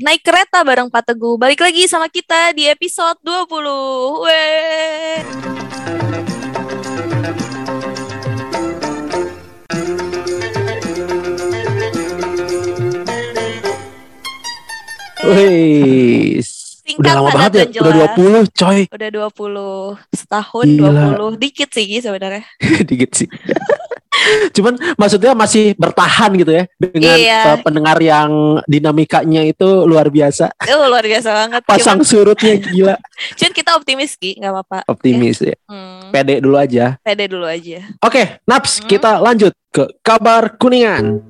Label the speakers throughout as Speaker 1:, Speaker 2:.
Speaker 1: naik kereta bareng Pak Teguh. Balik lagi sama kita di episode 20. Weh.
Speaker 2: Wih, udah
Speaker 1: Singkat
Speaker 2: lama
Speaker 1: padat
Speaker 2: banget ya,
Speaker 1: dan
Speaker 2: udah
Speaker 1: jelas.
Speaker 2: 20 coy
Speaker 1: Udah 20 setahun,
Speaker 2: Gila.
Speaker 1: 20 dikit sih Gi, sebenarnya.
Speaker 2: Dikit sih Cuman maksudnya masih bertahan gitu ya Dengan
Speaker 1: Iya.
Speaker 2: uh, pendengar yang dinamikanya itu luar biasa
Speaker 1: Oh, luar biasa banget.
Speaker 2: Pasang
Speaker 1: Cuman,
Speaker 2: surutnya gila
Speaker 1: cuman kita optimis Ki, nggak apa-apa.
Speaker 2: Optimis ya,
Speaker 1: Hmm,
Speaker 2: pede dulu aja
Speaker 1: pede dulu aja.
Speaker 2: Oke, Naps,
Speaker 1: Hmm.
Speaker 2: kita lanjut ke kabar kuningan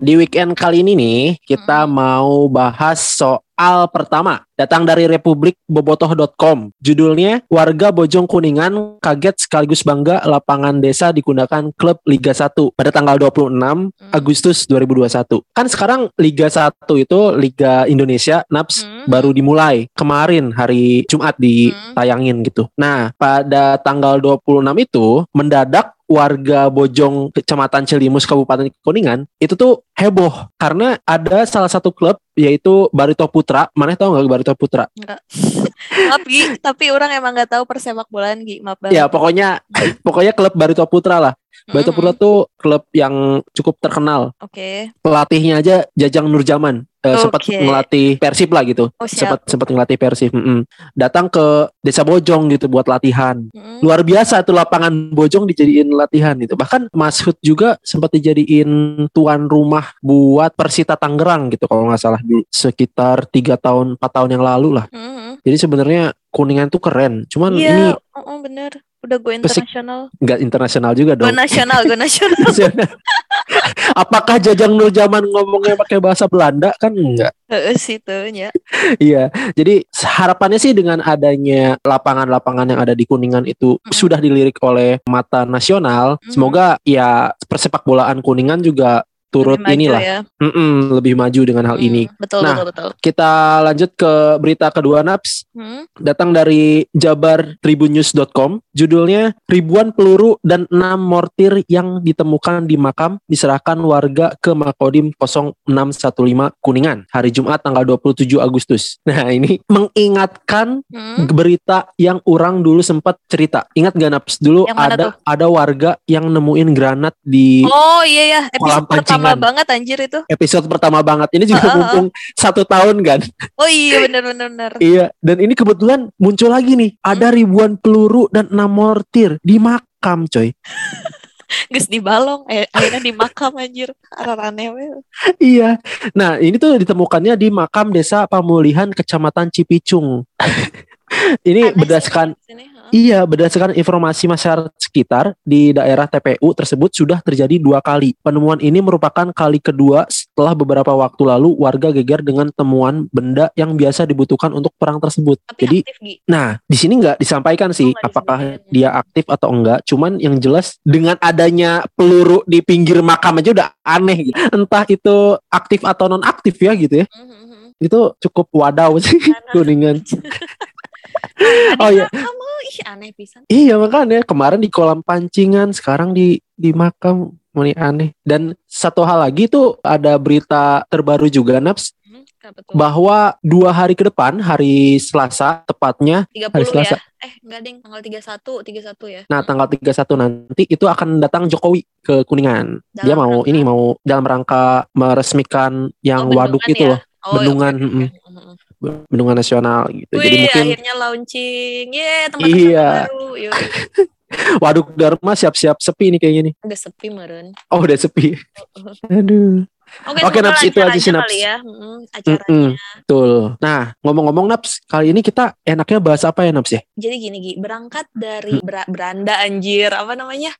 Speaker 2: Di weekend kali ini nih, kita mau bahas soal pertama. Datang dari Republik Bobotoh.com. Judulnya, Warga Bojong Kuningan Kaget Sekaligus Bangga Lapangan Desa Digunakan Klub Liga 1 pada tanggal 26
Speaker 1: Hmm.
Speaker 2: Agustus 2021. Kan sekarang Liga 1 itu Liga Indonesia Naps
Speaker 1: Hmm.
Speaker 2: baru dimulai kemarin hari Jumat ditayangin
Speaker 1: Hmm.
Speaker 2: gitu. Nah, pada tanggal 26 itu mendadak warga Bojong Kecamatan Celimus Kabupaten Kuningan itu tuh heboh karena ada salah satu klub yaitu Barito Putra. Mana tau nggak Barito Putra?
Speaker 1: Maaf Gi, tapi orang emang nggak tahu persepak bolaan Gi, maaf banget.
Speaker 2: Ya pokoknya pokoknya klub Barito Putra lah.
Speaker 1: Mm-mm.
Speaker 2: Barito Putra tuh klub yang cukup terkenal
Speaker 1: Oke.
Speaker 2: pelatihnya aja Jajang Nurjaman eh,
Speaker 1: Oke.
Speaker 2: sempat ngelatih Persib lah gitu.
Speaker 1: Oh, siap.
Speaker 2: Sempat sempat ngelatih Persib. mm-mm. Datang ke Desa Bojong gitu buat latihan.
Speaker 1: Mm-mm.
Speaker 2: Luar biasa tuh lapangan Bojong dijadiin latihan gitu. Bahkan Mas Hud juga sempat dijadiin tuan rumah buat Persita Tangerang gitu kalau nggak salah di sekitar tiga tahun 4 tahun yang lalu lah.
Speaker 1: Mm-mm.
Speaker 2: Jadi sebenarnya Kuningan tuh keren. Cuman ini
Speaker 1: hmm, Iya, oh, oh, bener. Udah go
Speaker 2: Pesik-
Speaker 1: internasional.
Speaker 2: nggak internasional juga
Speaker 1: Go
Speaker 2: dong.
Speaker 1: nasional, go nasional.
Speaker 2: Internasional. Apakah Jajang Nurjaman ngomongnya pakai bahasa Belanda kan enggak?
Speaker 1: Heeh, situnya.
Speaker 2: Iya, jadi harapannya sih dengan adanya lapangan-lapangan yang ada di Kuningan itu
Speaker 1: Mm-mm.
Speaker 2: sudah dilirik oleh mata nasional.
Speaker 1: Mm-mm.
Speaker 2: Semoga ya persepak bolaan Kuningan juga turut
Speaker 1: Lebih maju
Speaker 2: inilah,
Speaker 1: ya.
Speaker 2: Mm-mm, lebih maju dengan hal ini.
Speaker 1: Hmm, betul
Speaker 2: Nah.
Speaker 1: betul betul.
Speaker 2: Kita lanjut ke berita kedua Naps,
Speaker 1: Hmm,
Speaker 2: datang dari jabartribunnews.com. Judulnya ribuan peluru dan enam mortir yang ditemukan di makam diserahkan warga ke Makodim 0615 Kuningan hari Jumat tanggal 27 Agustus. Nah, ini mengingatkan
Speaker 1: hmm.
Speaker 2: berita yang orang dulu sempat cerita. Ingat gak Naps dulu
Speaker 1: Yang mana
Speaker 2: ada ada warga yang nemuin granat di
Speaker 1: Oh iya ya, episode
Speaker 2: Kolam
Speaker 1: pertama
Speaker 2: pancingan.
Speaker 1: banget anjir itu.
Speaker 2: episode pertama banget. Ini juga
Speaker 1: Heeh, heeh.
Speaker 2: mumpung satu tahun kan.
Speaker 1: Oh iya bener bener bener.
Speaker 2: Iya, dan ini kebetulan muncul lagi nih. Ada ribuan peluru dan enam mortir di makam, coy.
Speaker 1: Gus di balong, eh, akhirnya di makam anjir. Ararane we.
Speaker 2: iya. Nah, ini tuh ditemukannya di makam Desa Pamulihan, Kecamatan Cipicung. ini
Speaker 1: Aneh
Speaker 2: berdasarkan
Speaker 1: sih sini, heeh.
Speaker 2: Iya, berdasarkan informasi masyarakat sekitar di daerah TPU tersebut sudah terjadi dua kali. Penemuan ini merupakan kali kedua setelah beberapa waktu lalu warga geger dengan temuan benda yang biasa dibutuhkan untuk perang tersebut.
Speaker 1: Tapi
Speaker 2: Jadi
Speaker 1: aktif Gi.
Speaker 2: Nah, di sini nggak disampaikan
Speaker 1: Oh,
Speaker 2: sih
Speaker 1: nggak
Speaker 2: apakah
Speaker 1: disampaikan.
Speaker 2: dia aktif atau enggak. Cuman yang jelas dengan adanya peluru di pinggir makam aja udah aneh. Gitu. Entah itu aktif atau non aktif ya gitu ya.
Speaker 1: Hmm, hmm, hmm.
Speaker 2: Itu cukup wadaw sih
Speaker 1: Karena-
Speaker 2: kuningan.
Speaker 1: Karena
Speaker 2: Oh,
Speaker 1: di
Speaker 2: iya.
Speaker 1: makam, oh, ih aneh pisan.
Speaker 2: Iya makanya kemarin di kolam pancingan, sekarang di di makam. Muni aneh. Dan satu hal lagi tuh ada berita terbaru juga Naps
Speaker 1: Hmm, kenapa tuh?
Speaker 2: bahwa dua hari ke depan hari Selasa tepatnya
Speaker 1: 30
Speaker 2: hari
Speaker 1: ya.
Speaker 2: Selasa.
Speaker 1: Eh, enggak ding, tanggal 31, 31 ya.
Speaker 2: Nah, tanggal 31 nanti itu akan datang Jokowi ke Kuningan.
Speaker 1: Dalam
Speaker 2: Dia mau
Speaker 1: rangka-
Speaker 2: ini mau dalam rangka meresmikan yang
Speaker 1: Oh,
Speaker 2: waduk
Speaker 1: bendungan
Speaker 2: itu
Speaker 1: ya?
Speaker 2: loh,
Speaker 1: Oh, iya,
Speaker 2: bendungan,
Speaker 1: oke, oke,
Speaker 2: mm-mm.
Speaker 1: oke, mm-mm.
Speaker 2: bendungan nasional gitu. Jadi
Speaker 1: Wih,
Speaker 2: mungkin
Speaker 1: akhirnya launching. Ye, tempat-tempat
Speaker 2: Iya.
Speaker 1: baru. Yo,
Speaker 2: waduk Dharma siap-siap sepi nih kayaknya nih.
Speaker 1: agak sepi meren.
Speaker 2: Oh, udah sepi. Aduh.
Speaker 1: Oke,
Speaker 2: Oke,
Speaker 1: semoga
Speaker 2: Naps, itu
Speaker 1: lancar
Speaker 2: aja sih,
Speaker 1: kali
Speaker 2: Naps.
Speaker 1: ya. Mm, acaranya.
Speaker 2: Mm-mm. Betul. Nah, ngomong-ngomong Naps, kali ini kita enaknya bahas apa ya Naps ya?
Speaker 1: Jadi gini, Gi, berangkat dari
Speaker 2: Hmm.
Speaker 1: Bra- beranda anjir, apa namanya?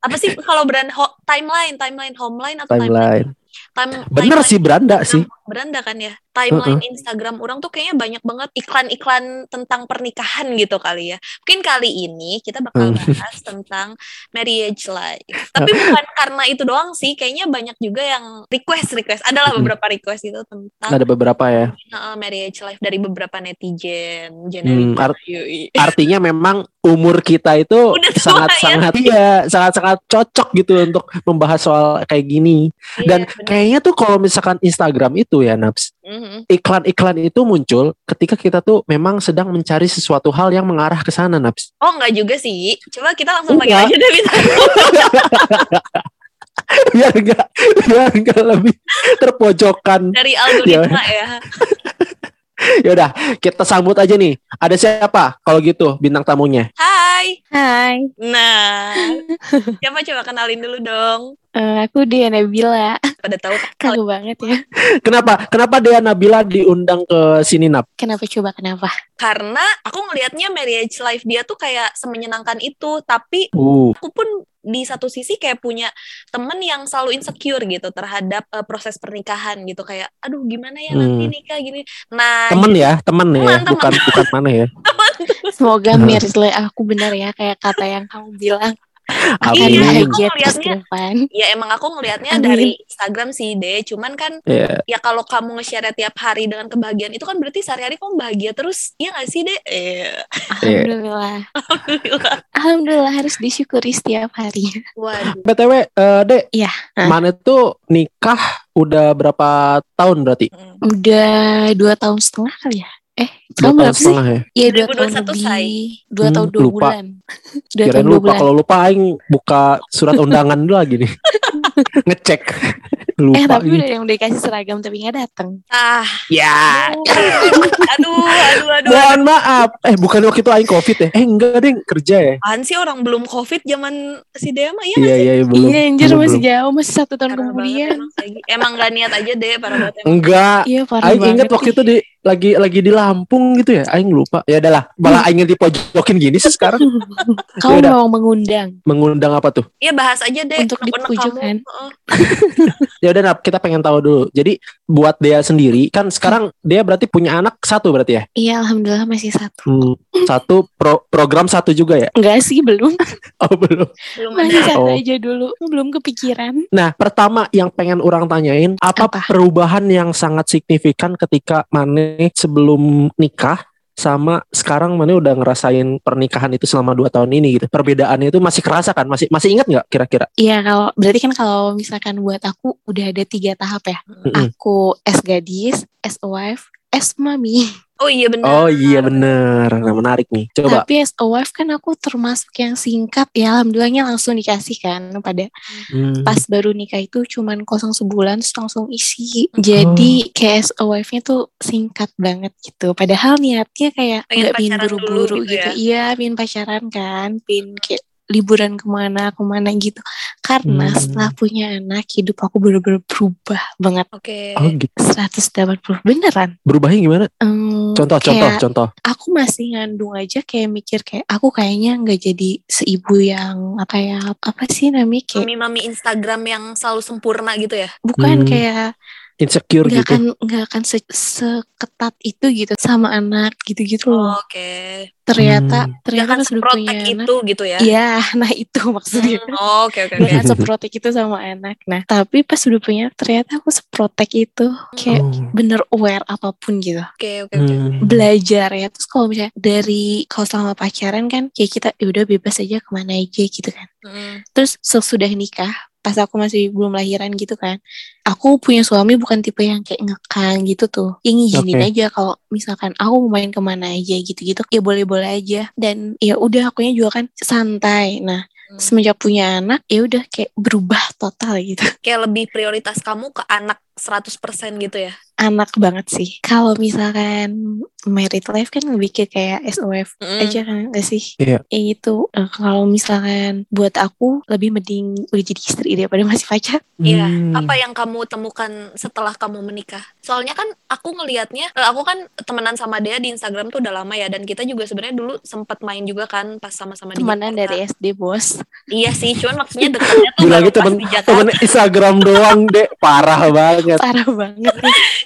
Speaker 1: Apa sih kalau beranda ho- timeline, timeline homeline atau timeline?
Speaker 2: Timeline.
Speaker 1: Time-
Speaker 2: Bener
Speaker 1: timeline
Speaker 2: sih beranda
Speaker 1: enam-
Speaker 2: sih.
Speaker 1: beranda kan ya. Timeline Instagram orang tuh kayaknya banyak banget iklan-iklan tentang pernikahan gitu kali ya. Mungkin kali ini kita
Speaker 2: Hmm.
Speaker 1: bakal bahas tentang marriage life. Tapi bukan karena itu doang sih, kayaknya banyak juga yang request-request. Adalah
Speaker 2: Hmm.
Speaker 1: beberapa request itu tentang
Speaker 2: Ada beberapa ya.
Speaker 1: uh, marriage life dari beberapa netizen,
Speaker 2: Hmm,
Speaker 1: generik
Speaker 2: ar-
Speaker 1: Yoi.
Speaker 2: artinya memang umur kita
Speaker 1: Iya.
Speaker 2: itu
Speaker 1: Udah tua ya?
Speaker 2: sangat-sangat iya, sangat-sangat cocok gitu untuk membahas soal kayak gini.
Speaker 1: Iya,
Speaker 2: Dan
Speaker 1: bener.
Speaker 2: kayaknya tuh kalau misalkan Instagram itu ya Naps,
Speaker 1: Mhm.
Speaker 2: iklan-iklan itu muncul ketika kita tuh memang sedang mencari sesuatu hal yang mengarah ke sana Naps.
Speaker 1: Oh enggak juga sih. Coba kita langsung pakai
Speaker 2: Enggak.
Speaker 1: aja deh bintang tamu.
Speaker 2: biar enggak biar enggak lebih terpojokan.
Speaker 1: dari algoritma ya.
Speaker 2: Ya udah, kita sambut aja nih. Ada siapa kalau gitu bintang tamunya?
Speaker 1: Hai.
Speaker 3: Hai,
Speaker 1: Nah, siapa coba kenalin dulu dong.
Speaker 3: eh, aku Dea Nabila.
Speaker 1: Pada tahu kan
Speaker 3: Kagum banget ya.
Speaker 2: Kenapa? Kenapa Dea Nabila diundang ke sini Nap?
Speaker 3: Kenapa coba kenapa?
Speaker 1: karena aku ngelihatnya marriage life dia tuh kayak semenyenangkan itu, tapi
Speaker 2: Uh,
Speaker 1: aku pun di satu sisi kayak punya temen yang selalu insecure gitu terhadap eh, proses pernikahan gitu kayak aduh gimana ya nanti
Speaker 2: Hmm.
Speaker 1: nikah gini. Nah,
Speaker 2: temen ya, temen ya,
Speaker 1: Teman, teman.
Speaker 2: bukan bukan mana ya.
Speaker 3: Semoga Mirsley aku benar ya kayak kata yang kamu bilang.
Speaker 2: Amin.
Speaker 3: Akan
Speaker 1: Iya,
Speaker 3: bahagia
Speaker 1: aku
Speaker 3: terus
Speaker 1: ngeliatnya-
Speaker 3: ke depan.
Speaker 1: ya emang aku ngelihatnya
Speaker 3: Amin.
Speaker 1: dari Instagram sih deh, cuman kan
Speaker 2: Iya.
Speaker 1: ya kalau kamu nge-share tiap hari dengan kebahagiaan itu kan berarti sehari-hari kamu bahagia terus ya nggak sih deh eh,
Speaker 2: Iya.
Speaker 3: Alhamdulillah. Alhamdulillah harus disyukuri setiap hari.
Speaker 1: waduh
Speaker 2: BTW, eh, Dek.
Speaker 3: Iya. Hah?
Speaker 2: Mana tuh nikah udah berapa tahun berarti?
Speaker 1: Mm.
Speaker 3: Udah dua tahun setengah kali ya? Eh,
Speaker 2: Dua
Speaker 3: kamu
Speaker 2: tahun
Speaker 3: berapa sih?
Speaker 2: setengah ya.
Speaker 3: Iya dua
Speaker 1: 2021
Speaker 3: tahun
Speaker 1: say.
Speaker 3: lebih. Dua
Speaker 2: Hmm,
Speaker 3: tahun dua
Speaker 2: lupa.
Speaker 3: bulan. Dua
Speaker 2: Kirain
Speaker 3: tahun dua
Speaker 2: lupa.
Speaker 3: bulan.
Speaker 2: Kalau lupa aing buka surat undangan dulu lagi nih. Ngecek.
Speaker 3: Eh,
Speaker 2: Lupa.
Speaker 3: tapi
Speaker 2: gitu.
Speaker 3: udah yang dikasih seragam tapi nggak datang.
Speaker 1: ah
Speaker 2: Ya.
Speaker 1: aduh aduh aduh
Speaker 2: Mohon maaf. Eh, bukan waktu itu aing Covid ya. Eh, enggak, Deng, kerja ya.
Speaker 1: apaan sih orang belum covid zaman si Dema ya
Speaker 2: Iya, iya, iya, belum.
Speaker 3: Iya, anjir
Speaker 2: Belum,
Speaker 3: masih
Speaker 2: belum.
Speaker 3: jauh, masih satu tahun
Speaker 1: Parah banget
Speaker 3: Iya, kemudian.
Speaker 1: emang, kayak gitu. emang gak niat aja deh para banget emang.
Speaker 2: Enggak.
Speaker 3: Iya, parah
Speaker 2: Aing
Speaker 3: banget.
Speaker 2: inget waktu itu di lagi lagi di Lampung gitu ya. Aing lupa. Ya adalah,
Speaker 3: Hmm.
Speaker 2: malah aing di pojokin gini sih sekarang.
Speaker 3: Kamu
Speaker 2: Yaudah.
Speaker 3: mau mengundang
Speaker 2: Mengundang apa tuh?
Speaker 1: ya bahas aja deh
Speaker 3: Untuk
Speaker 1: unek-unek
Speaker 3: dipujuk,
Speaker 1: kamu.
Speaker 3: kan?
Speaker 1: Heeh.
Speaker 2: Ya udah, Nap, kita pengen tahu dulu. Jadi buat dia sendiri kan sekarang dia berarti punya anak satu berarti ya.
Speaker 3: Iya, alhamdulillah masih satu.
Speaker 2: Hmm, satu pro- program satu juga ya.
Speaker 3: Enggak sih, belum.
Speaker 2: Oh belum.
Speaker 1: belum ada
Speaker 3: Masih satu
Speaker 2: Oh.
Speaker 3: aja dulu. Belum kepikiran.
Speaker 2: Nah pertama yang pengen orang tanyain apa,
Speaker 3: Apa?
Speaker 2: perubahan yang sangat signifikan ketika Mane sebelum nikah sama sekarang Mane udah ngerasain pernikahan itu selama dua tahun ini gitu. Perbedaannya itu masih kerasa kan? Masih masih ingat nggak kira-kira?
Speaker 3: Iya, kalau berarti kan kalau misalkan buat aku udah ada tiga tahap ya.
Speaker 2: Mm-mm.
Speaker 3: Aku as gadis, as a wife, as mommy.
Speaker 1: oh iya
Speaker 3: Ah,
Speaker 1: benar
Speaker 2: Oh iya bener. Nah menarik nih. Coba.
Speaker 3: Tapi as a wife kan aku termasuk yang singkat ya. Alhamdulillahnya langsung dikasih kan pada
Speaker 2: Hmm.
Speaker 3: pas baru nikah itu cuman kosong sebulan terus langsung
Speaker 2: Hmm.
Speaker 3: isi.
Speaker 2: Oh.
Speaker 3: Jadi kayak as a wife-nya tuh singkat banget gitu. Padahal niatnya kayak
Speaker 1: Pengen
Speaker 3: nggak pingin
Speaker 1: pacaran dulu
Speaker 3: buru-buru
Speaker 1: gitu
Speaker 3: gitu.
Speaker 2: ya?
Speaker 3: Iya, pingin pacaran kan, pingin kayak liburan kemana kemana gitu karena
Speaker 2: Hmm.
Speaker 3: setelah punya anak hidup aku bener-bener berubah banget
Speaker 1: oke
Speaker 2: Oh gitu.
Speaker 3: 180 beneran
Speaker 2: Berubahnya gimana?
Speaker 3: Em,
Speaker 2: Contoh, contoh,
Speaker 3: kayak
Speaker 2: contoh.
Speaker 3: aku masih ngandung aja kayak mikir kayak aku kayaknya nggak jadi seibu yang apa ya apa sih namanya kayak
Speaker 1: mami-mami Instagram yang selalu sempurna gitu ya
Speaker 2: Hmm.
Speaker 3: bukan kayak
Speaker 2: Insecure
Speaker 3: nggak kan,
Speaker 2: gitu.
Speaker 3: akan nggak akan se- seketat itu gitu sama anak gitu-gitu loh
Speaker 1: oke
Speaker 2: Hmm.
Speaker 3: ternyata
Speaker 1: Gak
Speaker 3: ternyata
Speaker 1: Oh. akan
Speaker 3: pas udah punya
Speaker 1: seprotek
Speaker 3: anak
Speaker 1: itu gitu ya
Speaker 3: Iya, nah itu maksudnya.
Speaker 1: Hmm, oh, oke oke oke
Speaker 3: Gak akan seprotek itu sama anak. Nah, tapi pas udah punya anak, ternyata aku seprotek itu. Kayak
Speaker 2: Oh.
Speaker 3: bener aware apapun gitu.
Speaker 1: oke oke oke
Speaker 2: Hmm.
Speaker 3: belajar ya terus kalau misalnya dari kalau selama pacaran kan kayak kita "Ya udah bebas aja kemana aja gitu kan
Speaker 1: Hmm.
Speaker 3: terus sesudah nikah pas aku masih belum lahiran gitu kan aku punya suami bukan tipe yang kayak ngekang gitu tuh yang ngizinin
Speaker 2: Oke.
Speaker 3: aja kalau misalkan aku mau main kemana aja gitu-gitu ya boleh-boleh aja dan ya udah akunya juga kan santai nah
Speaker 1: Hmm.
Speaker 3: semenjak punya anak ya udah kayak berubah total gitu
Speaker 1: kayak lebih prioritas kamu ke anak 100% gitu ya.
Speaker 3: anak banget sih kalau misalkan married life kan lebih ke kayak SOF
Speaker 1: Mm.
Speaker 3: aja kan gak sih
Speaker 2: Iya.
Speaker 3: ya gitu Eh, kalau misalkan buat aku lebih mending udah jadi istri daripada masih pacar
Speaker 1: Iya,
Speaker 2: Hmm.
Speaker 3: ya?
Speaker 1: Apa yang kamu temukan setelah kamu menikah? Soalnya kan aku ngelihatnya, eh, aku kan temenan sama dia di Instagram tuh udah lama ya dan kita juga sebenarnya dulu sempat main juga kan pas sama-sama di
Speaker 3: temenan
Speaker 1: Jakarta.
Speaker 3: dari ya? SD bos
Speaker 1: Iya sih, cuman maksudnya dekatnya tuh
Speaker 2: Gila
Speaker 1: baru
Speaker 2: gitu,
Speaker 1: pas
Speaker 2: temen-
Speaker 1: di Jakarta.
Speaker 2: Temen Instagram doang dek Parah banget banget.
Speaker 3: parah banget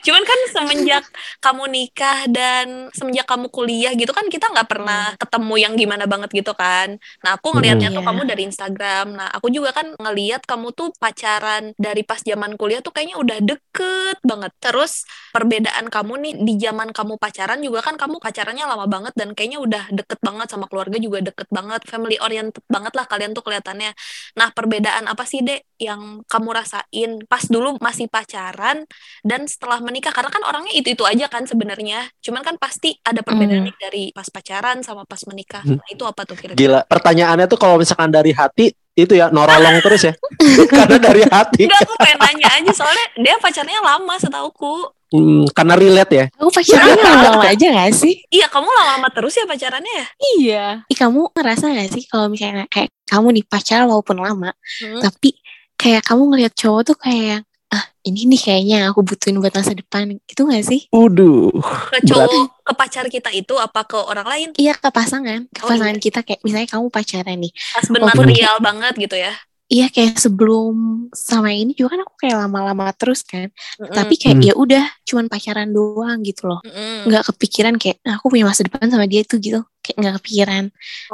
Speaker 1: Cuman kan semenjak kamu nikah dan semenjak kamu kuliah gitu kan kita nggak pernah ketemu yang gimana banget gitu kan. Nah aku ngelihatnya
Speaker 3: Hmm.
Speaker 1: tuh
Speaker 3: Iya.
Speaker 1: kamu dari Instagram. Nah aku juga kan ngelihat kamu tuh pacaran dari pas zaman kuliah tuh kayaknya udah deket banget. Terus perbedaan kamu nih di zaman kamu pacaran juga kan kamu pacarannya lama banget dan kayaknya udah deket banget sama keluarga juga deket banget, family oriented banget lah kalian tuh kelihatannya. Nah perbedaan apa sih dek yang kamu rasain pas dulu masih pacaran dan setelah menikah karena kan orangnya itu itu aja kan sebenarnya cuman kan pasti ada perbedaan nih dari pas pacaran sama pas menikah
Speaker 2: Hmm.
Speaker 1: nah, itu apa tuh kira-kira
Speaker 2: Gila, pertanyaannya tuh kalau misalkan dari hati itu ya norolong terus ya. karena dari hati.
Speaker 1: Enggak, aku pengen nanya aja soalnya dia pacarnya lama setauku
Speaker 2: Hmm, karena relate ya.
Speaker 3: aku pacarannya lama-lama aja gak sih
Speaker 1: iya kamu lama-lama terus ya pacarannya ya
Speaker 3: iya Ih, kamu ngerasa gak sih kalau misalnya kayak kamu di pacaran walaupun lama
Speaker 1: Hmm.
Speaker 2: Nah,
Speaker 3: tapi kayak kamu ngelihat cowok tuh kayak ah ini nih kayaknya yang aku butuhin buat masa depan gitu gak sih
Speaker 2: Waduh.
Speaker 1: ke cowok ke pacar kita itu apa ke orang lain
Speaker 3: iya ke pasangan ke
Speaker 1: Oh,
Speaker 3: pasangan kita kayak misalnya kamu pacaran nih
Speaker 1: pas
Speaker 3: Walaupun-
Speaker 1: material banget gitu ya
Speaker 3: iya kayak sebelum sama ini juga kan aku kayak lama-lama terus kan
Speaker 1: Mm-mm.
Speaker 3: tapi kayak
Speaker 2: Hmm.
Speaker 3: ya udah cuman pacaran doang gitu loh
Speaker 1: Mm-mm.
Speaker 3: nggak kepikiran kayak "Ah, aku punya masa depan sama dia tuh gitu kayak nggak kepikiran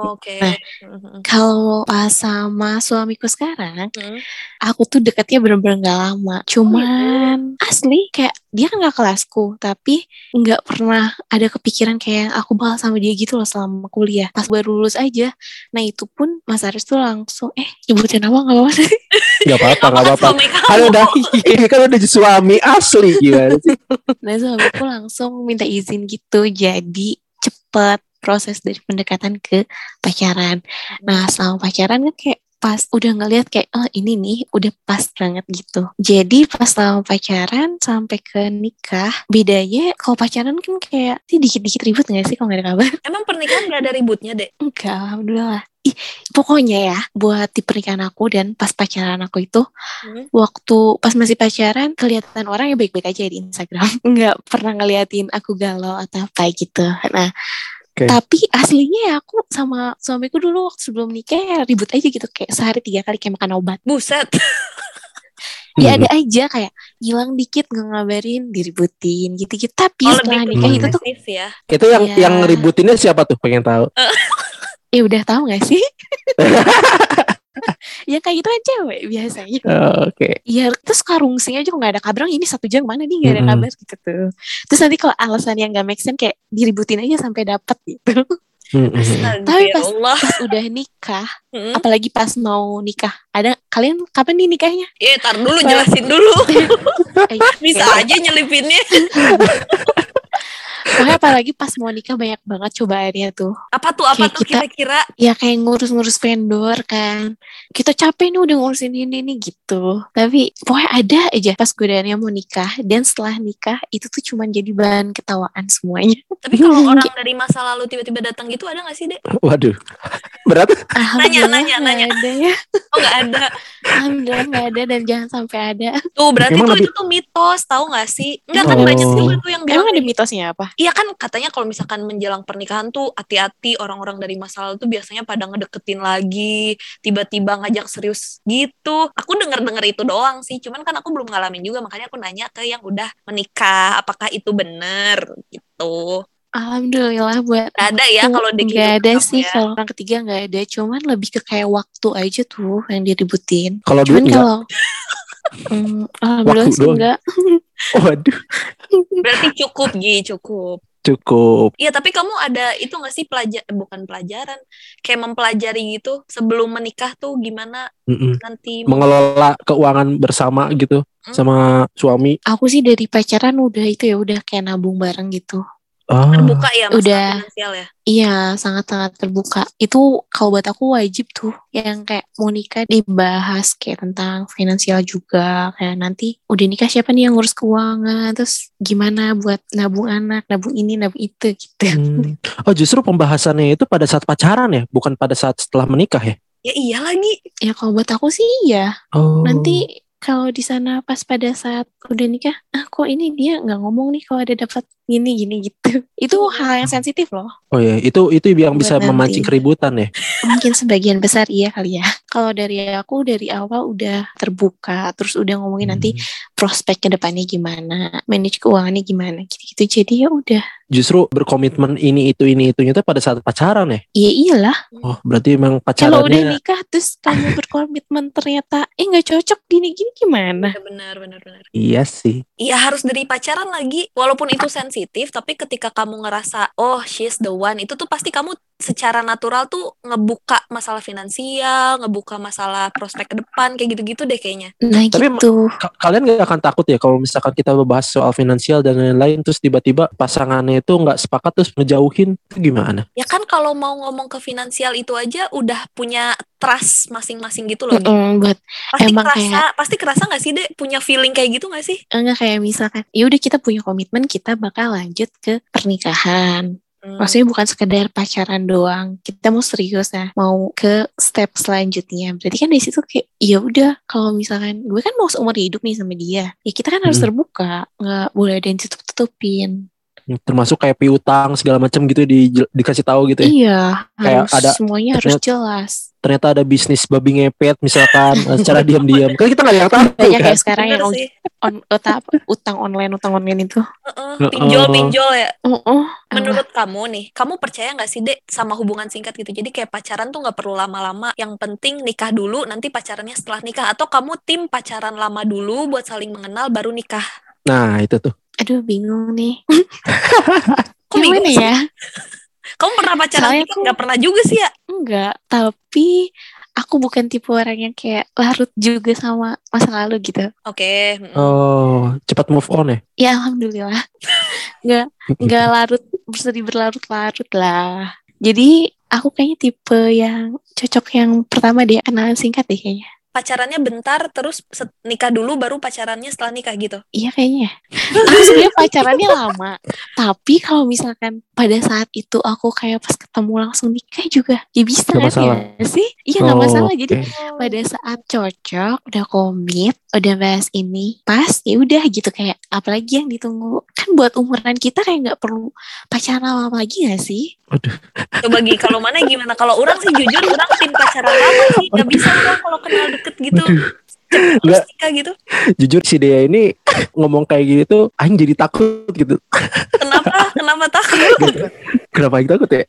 Speaker 1: oke Hmm,
Speaker 3: Nah.
Speaker 1: Mm-mm.
Speaker 3: kalau pas sama suamiku sekarang
Speaker 1: Mm-mm.
Speaker 3: aku tuh deketnya bener-bener gak lama cuman asli kayak dia kan gak kelasku tapi nggak pernah ada kepikiran kayak aku bakal sama dia gitu loh selama kuliah pas baru lulus aja nah itu pun Mas Aris tuh langsung eh nyebutin nama gak apa-apa sih?
Speaker 2: Gak apa-apa,
Speaker 1: Apa
Speaker 2: gak apa-apa.
Speaker 1: suami kamu?
Speaker 2: Kan udah, kan udah suami asli gimana sih?
Speaker 3: nah suamiku langsung minta izin gitu jadi cepet proses dari pendekatan ke pacaran nah selama pacaran kan kayak pas udah ngeliat kayak oh ini nih udah pas banget gitu jadi pas selama pacaran sampai ke nikah bedanya kalau pacaran kan kayak sih dikit-dikit ribut gak sih kalau gak ada kabar
Speaker 1: emang pernikahan gak ada ributnya dek
Speaker 3: enggak alhamdulillah Ih, pokoknya ya buat di pernikahan aku dan pas pacaran aku itu
Speaker 1: Hmm.
Speaker 3: waktu pas masih pacaran kelihatan orang yang baik-baik aja di Instagram nggak pernah ngeliatin aku galau atau apa gitu nah
Speaker 2: Oke.
Speaker 3: tapi aslinya ya aku sama suamiku dulu waktu sebelum nikah ya ribut aja gitu kayak sehari tiga kali kayak makan obat
Speaker 1: buset
Speaker 2: Iya, Hmm.
Speaker 3: ya ada aja kayak hilang dikit nggak ngabarin diributin gitu-gitu tapi
Speaker 1: Oh,
Speaker 3: setelah
Speaker 1: lebih
Speaker 3: nikah itu tuh
Speaker 1: posesif ya
Speaker 2: Itu yang
Speaker 3: Iya.
Speaker 2: yang ributinnya siapa tuh? Pengen tahu.
Speaker 3: ya udah tahu nggak sih ya kayak gitu kan cewek biasanya
Speaker 2: Oke.
Speaker 3: Iya, terus karungsing aja kok nggak ada kabar. Ini satu jam mana nih nggak ada
Speaker 2: Mm-mm.
Speaker 3: kabar gitu tuh. Terus nanti kalau alasan yang nggak make sense kayak diributin aja sampai dapet gitu.
Speaker 2: Mm-mm.
Speaker 1: Astaga,
Speaker 3: Tapi pas-
Speaker 1: ya Allah.
Speaker 3: Pas udah nikah,
Speaker 1: Mm.
Speaker 3: apalagi pas mau nikah, ada kalian kapan nih nikahnya?
Speaker 1: Eh, tar dulu jelasin dulu.
Speaker 3: Eh,
Speaker 1: Bisa
Speaker 3: kayak-
Speaker 1: aja nyelipinnya.
Speaker 3: Pokoknya apalagi pas mau nikah banyak banget cobaannya tuh.
Speaker 1: Apa tuh apa
Speaker 3: Kayak
Speaker 1: tuh
Speaker 3: kita-
Speaker 1: kira-kira?
Speaker 3: Ya kayak ngurus-ngurus vendor kan. Kita capek nih udah ngurusin ini nih gitu. Tapi pokoknya ada aja pas godaannya mau nikah dan setelah nikah itu tuh cuman jadi bahan ketawaan semuanya.
Speaker 1: Tapi kalau orang dari masa lalu tiba-tiba datang gitu ada nggak sih, Dek?
Speaker 2: Waduh. Berat.
Speaker 3: Alhamdulillah
Speaker 1: nanya,
Speaker 3: nggak
Speaker 1: nanya.
Speaker 3: Ada ya.
Speaker 1: Oh, nggak ada.
Speaker 3: Alhamdulillah nggak ada dan jangan sampai ada.
Speaker 1: Tuh, berarti
Speaker 2: Emang
Speaker 1: tuh
Speaker 2: lebih-
Speaker 1: itu tuh mitos, tahu nggak sih? Enggak kan
Speaker 2: Oh.
Speaker 1: banyak juga tuh yang bilang
Speaker 3: Emang ada mitosnya apa?
Speaker 1: Iya kan katanya kalau misalkan menjelang pernikahan tuh hati-hati orang-orang dari masa lalu tuh biasanya pada ngedeketin lagi, tiba-tiba ngajak serius gitu. Aku denger-denger itu doang sih, cuman kan aku belum ngalamin juga makanya aku nanya ke yang udah menikah, apakah itu bener gitu.
Speaker 3: Alhamdulillah buat
Speaker 1: Nggak ada ya
Speaker 3: aku
Speaker 1: kalau di
Speaker 3: nggak
Speaker 1: kehidupan
Speaker 3: ada
Speaker 1: kamu
Speaker 3: sih
Speaker 1: ya.
Speaker 3: kalau orang ketiga nggak ada. Cuman lebih ke kayak waktu aja tuh yang diributin.
Speaker 2: Kalau duit
Speaker 3: Cuman
Speaker 2: enggak.
Speaker 3: kalau Hmm, alhamdulillah
Speaker 2: Waktu
Speaker 3: sih
Speaker 2: doang.
Speaker 3: enggak.
Speaker 2: Waduh.
Speaker 1: Berarti cukup Gi, cukup.
Speaker 2: Cukup.
Speaker 1: Iya, tapi kamu ada itu nggak sih pelajar eh, bukan pelajaran, kayak mempelajari gitu sebelum menikah tuh gimana
Speaker 2: Mm-mm.
Speaker 1: nanti
Speaker 2: Hmm, Mengelola keuangan bersama gitu
Speaker 1: Hmm.
Speaker 2: sama suami.
Speaker 3: Aku sih dari pacaran udah itu ya udah kayak nabung bareng gitu.
Speaker 2: Ah.
Speaker 1: terbuka ya masalah
Speaker 3: Udah.
Speaker 1: finansial ya.
Speaker 3: Iya, sangat-sangat terbuka. Itu kalau buat aku wajib tuh yang kayak mau nikah dibahas kayak tentang finansial juga. Kayak nanti udah nikah siapa nih yang ngurus keuangan, terus gimana buat nabung anak, nabung ini, nabung itu gitu.
Speaker 2: Hmm. Oh justru pembahasannya itu pada saat pacaran ya, bukan pada saat setelah menikah ya.
Speaker 1: Ya iya lagi.
Speaker 3: Ya kalau buat aku sih iya.
Speaker 2: Oh.
Speaker 3: Nanti kalau di sana pas pada saat udah nikah, ah kok ini dia nggak ngomong nih kalau ada dapat gini gini gitu. Itu hal yang sensitif loh.
Speaker 2: Oh ya, itu itu yang bisa
Speaker 3: Buat nanti.
Speaker 2: memancing keributan ya.
Speaker 3: Mungkin sebagian besar iya kali ya. kalau dari aku dari awal udah terbuka terus udah ngomongin nanti prospek ke depannya gimana manage keuangannya gimana gitu-gitu jadi ya udah
Speaker 2: Hmm. Justru berkomitmen ini itu ini itunya tuh pada saat pacaran ya.
Speaker 3: ya iyalah
Speaker 2: Oh, berarti emang
Speaker 3: kalau udah
Speaker 2: pacarannya
Speaker 3: nikah terus kamu berkomitmen ternyata eh nggak cocok gini gini gimana
Speaker 1: Benar, benar, benar.
Speaker 2: iya sih.
Speaker 1: Iya harus dari pacaran lagi, walaupun itu sensitif, tapi ketika kamu ngerasa, oh she's the one, itu tuh pasti kamu secara natural tuh ngebuka masalah finansial, ngebuka masalah prospek ke depan, kayak gitu-gitu deh kayaknya.
Speaker 3: nah
Speaker 2: Tapi emang-
Speaker 3: gitu
Speaker 2: Ka- kalian gak akan takut ya kalau misalkan kita bahas soal finansial dan lain-lain terus tiba-tiba pasangannya itu nggak sepakat terus ngejauhin itu gimana?
Speaker 1: Ya kan kalau mau ngomong ke finansial itu aja udah punya trust masing-masing gitu loh. Gi.
Speaker 3: Mm-mm, buat
Speaker 1: Pasti
Speaker 3: Emang
Speaker 1: kerasa, pasti kerasa nggak sih deh punya feeling kayak gitu nggak sih?
Speaker 3: enggak eh, kayak misalkan ya udah kita punya komitmen kita bakal lanjut ke pernikahan
Speaker 1: Hmm.
Speaker 3: maksudnya bukan sekedar pacaran doang kita mau serius ya mau ke step selanjutnya berarti kan dari situ kayak ya udah kalau misalkan gue kan mau seumur hidup nih sama dia ya kita kan harus
Speaker 2: Hmm.
Speaker 3: terbuka nggak boleh ada yang tutup tutupin
Speaker 2: Termasuk kayak piutang segala macam gitu di, dikasih tahu gitu ya.
Speaker 3: iya
Speaker 2: Kayak
Speaker 3: harus
Speaker 2: ada-
Speaker 3: semuanya harus jelas
Speaker 2: Ternyata ada bisnis babi ngepet misalkan eh, secara diam-diam. Kan kita nggak ada yang tahu
Speaker 3: banyak
Speaker 2: kan.
Speaker 3: Ya, kayak sekarang
Speaker 1: Bener
Speaker 3: yang
Speaker 1: sih.
Speaker 3: on- utang, utang online utang online itu
Speaker 1: Heeh,
Speaker 2: Heeh.
Speaker 1: Pinjol-pinjol ya.
Speaker 3: oh oh
Speaker 1: Menurut kamu nih, kamu percaya nggak sih Dek sama hubungan singkat gitu? Jadi kayak pacaran tuh nggak perlu lama-lama. Yang penting nikah dulu, nanti pacarannya setelah nikah. Atau kamu tim pacaran lama dulu buat saling mengenal baru nikah?
Speaker 2: Nah itu tuh.
Speaker 3: aduh bingung nih
Speaker 1: Kok bingung
Speaker 3: gimana
Speaker 1: sih?
Speaker 3: ya
Speaker 1: Kamu pernah pacaran
Speaker 3: Soalnya
Speaker 1: nikah?
Speaker 3: aku-
Speaker 1: Nggak pernah juga sih ya?
Speaker 3: Enggak, tapi aku bukan tipe orang yang kayak larut juga sama masa lalu gitu.
Speaker 1: Oke. mm.
Speaker 2: Oh cepat move on ya.
Speaker 3: Ya alhamdulillah, enggak larut bersedih berlarut-larut lah. Jadi aku kayaknya tipe yang cocok yang pertama dia kenalan singkat deh kayaknya.
Speaker 1: Pacarannya bentar, terus set- nikah dulu baru pacarannya setelah nikah gitu.
Speaker 3: Iya kayaknya. Aku sebenarnya pacarannya lama, tapi kalau misalkan pada saat itu aku kayak pas ketemu langsung nikah juga, ya bisa
Speaker 2: Nggak
Speaker 3: kan
Speaker 2: masalah.
Speaker 3: ya sih? Iya nggak
Speaker 2: Oh,
Speaker 3: masalah. Jadi
Speaker 2: oke.
Speaker 3: pada saat cocok udah komit udah bahas ini pas ya udah gitu kayak apalagi yang ditunggu kan buat umuran kita kayak nggak perlu pacaran lama lagi gak sih
Speaker 1: Coba Gi, kalau mana gimana? Kalau orang sih jujur, orang tim pacaran lama sih. Nggak bisa orang kalau kenal deket gitu. Cepet terus
Speaker 2: Nggak.
Speaker 1: nikah gitu.
Speaker 2: Jujur si Dea ini ngomong kayak gini tuh Aing jadi takut gitu.
Speaker 1: Kenapa? Kenapa takut?
Speaker 2: Kenapa Aing takut ya?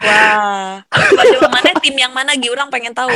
Speaker 1: Wah, coba mana tim yang mana Gi? Orang pengen tahu.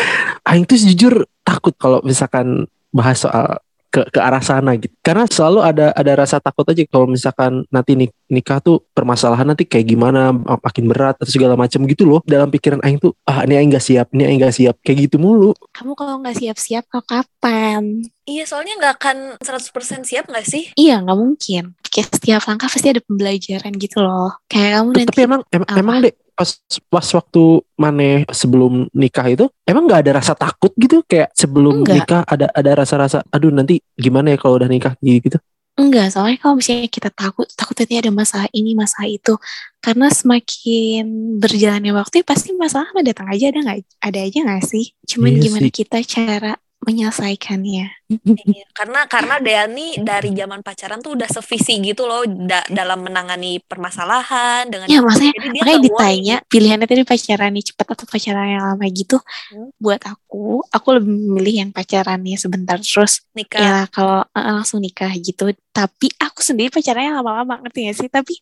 Speaker 2: Aing tuh jujur takut kalau misalkan bahas soal ke ke arah sana gitu. Karena selalu ada ada rasa takut aja kalau misalkan nanti nik- nikah tuh permasalahan nanti kayak gimana mak- makin berat atau segala macam gitu loh. Dalam pikiran Aing tuh ah ini Aing gak siap, ini Aing gak siap kayak gitu mulu.
Speaker 3: kamu kalau nggak siap-siap kau kapan
Speaker 1: Iya, soalnya nggak akan 100% siap nggak sih?
Speaker 3: iya nggak mungkin kayak setiap langkah pasti ada pembelajaran gitu loh kayak kamu nanti
Speaker 2: Eh, Tapi emang em-
Speaker 3: apa?
Speaker 2: emang deh pas pas waktu maneh sebelum nikah itu emang nggak ada rasa takut gitu kayak sebelum
Speaker 3: Enggak.
Speaker 2: nikah ada ada rasa-rasa aduh nanti gimana ya kalau udah nikah gitu.
Speaker 3: Enggak, soalnya kalau misalnya kita takut, takut nanti ada masalah ini, masalah itu. Karena semakin berjalannya waktu, ya pasti masalah mah datang aja ada nggak, ada aja nggak sih? Cuman
Speaker 2: Iya
Speaker 3: gimana
Speaker 2: sih.
Speaker 3: kita cara menyelesaikannya.
Speaker 1: Iya, karena karena Deani dari zaman pacaran tuh udah sevisi gitu loh da- dalam menangani permasalahan dengan
Speaker 3: Ya,
Speaker 1: jadi
Speaker 3: maksudnya
Speaker 1: dia
Speaker 3: makanya
Speaker 1: nggak worry.
Speaker 3: ditanya pilihannya tadi pacaran nih cepat atau pacaran yang lama gitu.
Speaker 1: Hmm.
Speaker 3: Buat aku, aku lebih memilih yang pacarannya sebentar terus
Speaker 1: nikah.
Speaker 3: ya kalau eh, langsung nikah gitu. Tapi aku sendiri pacarannya lama-lama ngerti gak sih? Tapi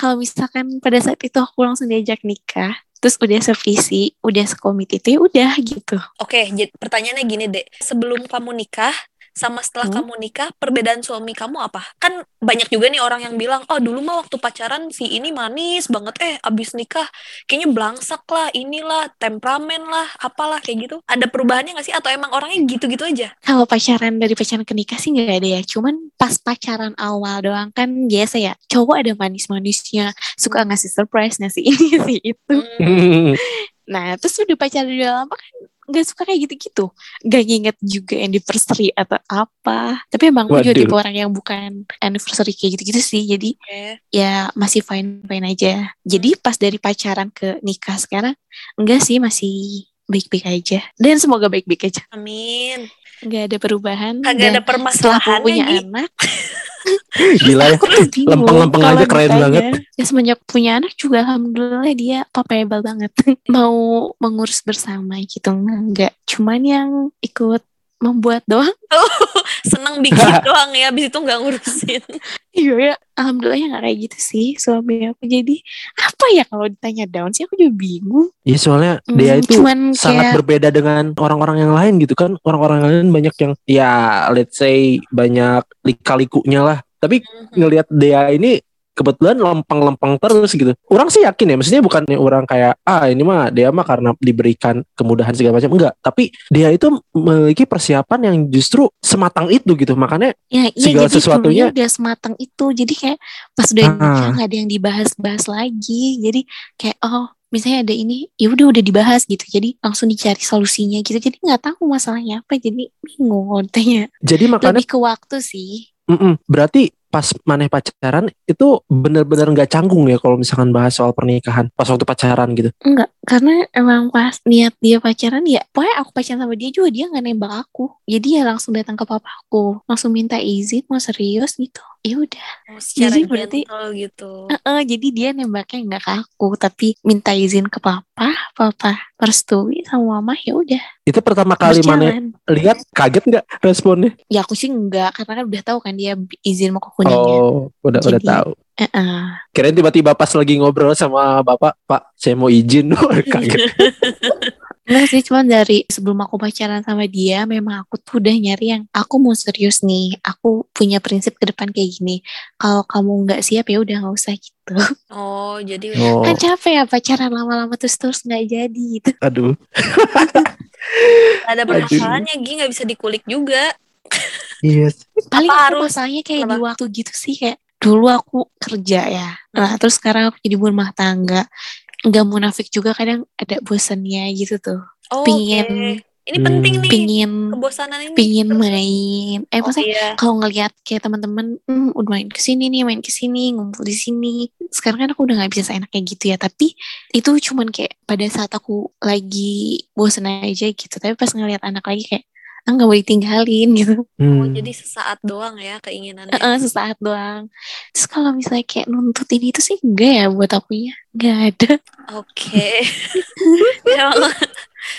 Speaker 3: kalau misalkan pada saat itu aku langsung diajak nikah, terus udah sevisi, udah sekomit itu ya udah gitu.
Speaker 1: Oke, jadi pertanyaannya gini deh, sebelum kamu nikah sama setelah
Speaker 3: Hmm.
Speaker 1: kamu nikah perbedaan suami kamu apa? Kan banyak juga nih orang yang bilang, oh dulu mah waktu pacaran si ini manis banget, eh abis nikah kayaknya belangsak lah, inilah temperamen lah, apalah kayak gitu. Ada perubahannya nggak sih? Atau emang orangnya gitu-gitu aja?
Speaker 3: Kalau pacaran dari pacaran ke nikah sih nggak ada ya. Cuman pas pacaran awal doang kan biasa ya. Cowok ada manis-manisnya, suka ngasih surprise, ngasih ini, ngasih itu.
Speaker 1: Hmm.
Speaker 3: Nah, terus udah pacaran udah lama kan nggak suka kayak gitu-gitu. Gak nginget juga anniversary atau apa. Tapi emang aku juga
Speaker 2: Waduh.
Speaker 3: tipe orang yang bukan anniversary kayak gitu-gitu sih. Jadi
Speaker 1: Oke.
Speaker 3: ya masih fine-fine aja. Jadi pas dari pacaran ke nikah sekarang, enggak sih masih baik-baik aja. Dan semoga baik-baik aja.
Speaker 1: Amin.
Speaker 3: Enggak ada perubahan.
Speaker 1: Kagak ada
Speaker 3: dan Iya. setelah
Speaker 1: permasalahannya
Speaker 3: punya
Speaker 1: Gi.
Speaker 3: anak,
Speaker 2: Gila ya.
Speaker 3: Aku tuh bingung
Speaker 2: Lempeng-lempeng
Speaker 3: kalau
Speaker 2: aja keren
Speaker 3: ditanya.
Speaker 2: banget.
Speaker 3: Ya semenjak punya anak juga alhamdulillah dia capable banget. Mau mengurus bersama gitu enggak. Cuman yang ikut membuat doang
Speaker 1: Seneng bikin doang ya, abis itu nggak ngurusin.
Speaker 3: iya ya alhamdulillah nggak kayak gitu sih suami aku jadi apa ya kalau ditanya down sih aku juga bingung
Speaker 2: Iya soalnya dia
Speaker 3: Hmm,
Speaker 2: itu
Speaker 3: cuman
Speaker 2: sangat
Speaker 3: kayak
Speaker 2: berbeda dengan orang-orang yang lain gitu kan. Orang-orang lain banyak yang ya let's say banyak lika-likunya lah. Tapi ngelihat dia ini kebetulan lempeng-lempeng terus gitu. Orang sih yakin ya, maksudnya bukan yang orang kayak ah ini mah dia mah karena diberikan kemudahan segala macam enggak, tapi dia itu memiliki persiapan yang justru sematang itu gitu. Makanya
Speaker 3: ya iya
Speaker 2: segala
Speaker 3: jadi semuanya
Speaker 2: sesuatunya-
Speaker 3: udah sematang itu jadi kayak pas udah
Speaker 2: Ah.
Speaker 3: nikah nggak ada yang dibahas-bahas lagi jadi kayak oh misalnya ada ini ya udah udah dibahas gitu jadi langsung dicari solusinya gitu jadi nggak tahu masalahnya apa jadi bingung kalau ditanya
Speaker 2: jadi makanya
Speaker 3: lebih ke waktu sih
Speaker 2: Mm-mm. Berarti pas maneh pacaran itu bener-bener nggak canggung ya kalau misalkan bahas soal pernikahan pas waktu pacaran gitu.
Speaker 3: Enggak, karena emang pas niat dia pacaran ya Pokoknya aku pacaran sama dia juga dia nggak nembak aku Jadi ya langsung datang ke papaku Langsung minta izin, mau serius gitu Ya udah
Speaker 1: Oh, secara
Speaker 3: Jadi berarti-
Speaker 1: gentle gitu.
Speaker 3: Heeh, jadi dia nembaknya nggak ke aku tapi minta izin ke papa papa merestui sama mama ya udah
Speaker 2: Itu pertama kali maneh
Speaker 3: berjalan
Speaker 2: lihat kaget nggak responnya?
Speaker 3: ya aku sih nggak karena kan udah tahu kan dia bi- izin mau ke kuningnya
Speaker 2: Oh, udah udah
Speaker 3: Jadi-
Speaker 2: tahu.
Speaker 3: Heeh.
Speaker 2: Kirain tiba-tiba pas lagi ngobrol sama bapak, Pak, saya mau izin. Oh, kaget.
Speaker 1: Iya.
Speaker 3: Enggak sih cuma dari sebelum aku pacaran sama dia memang aku tuh udah nyari yang aku mau serius nih aku punya prinsip ke depan kayak gini kalau kamu nggak siap ya udah nggak usah gitu
Speaker 1: Oh, jadi
Speaker 2: Oh,
Speaker 3: kan capek ya pacaran lama-lama terus terus nggak jadi gitu
Speaker 2: aduh.
Speaker 1: ada permasalahannya, Gi nggak bisa dikulik juga.
Speaker 2: Yes.
Speaker 3: paling
Speaker 1: Apa
Speaker 3: aku
Speaker 1: harus-
Speaker 3: masalahnya kayak di
Speaker 1: Kenapa?
Speaker 3: waktu gitu sih kayak dulu aku kerja ya
Speaker 1: Hmm.
Speaker 3: nah terus sekarang aku jadi rumah tangga nggak munafik juga kadang ada bosannya gitu tuh
Speaker 1: Oh,
Speaker 3: Pingin.
Speaker 1: oke. Ini
Speaker 2: Hmm.
Speaker 1: penting nih
Speaker 3: pingin
Speaker 1: kebosanan ini.
Speaker 3: pingin main eh
Speaker 1: gitu. Oh,
Speaker 3: maksudnya
Speaker 1: iya.
Speaker 3: kalau ngelihat kayak teman-teman hmm, udah main kesini nih main kesini ngumpul di sini sekarang kan aku udah nggak bisa seenaknya gitu ya tapi itu cuman kayak pada saat aku lagi bosen aja gitu tapi pas ngelihat anak lagi kayak ah nggak boleh tinggalin gitu
Speaker 1: Oh,
Speaker 2: Hmm.
Speaker 1: jadi sesaat doang ya keinginannya.
Speaker 3: Heeh, sesaat doang. Terus kalau misalnya kayak nuntut ini itu sih enggak ya buat akunya. Enggak ada.
Speaker 1: Oke. Memang-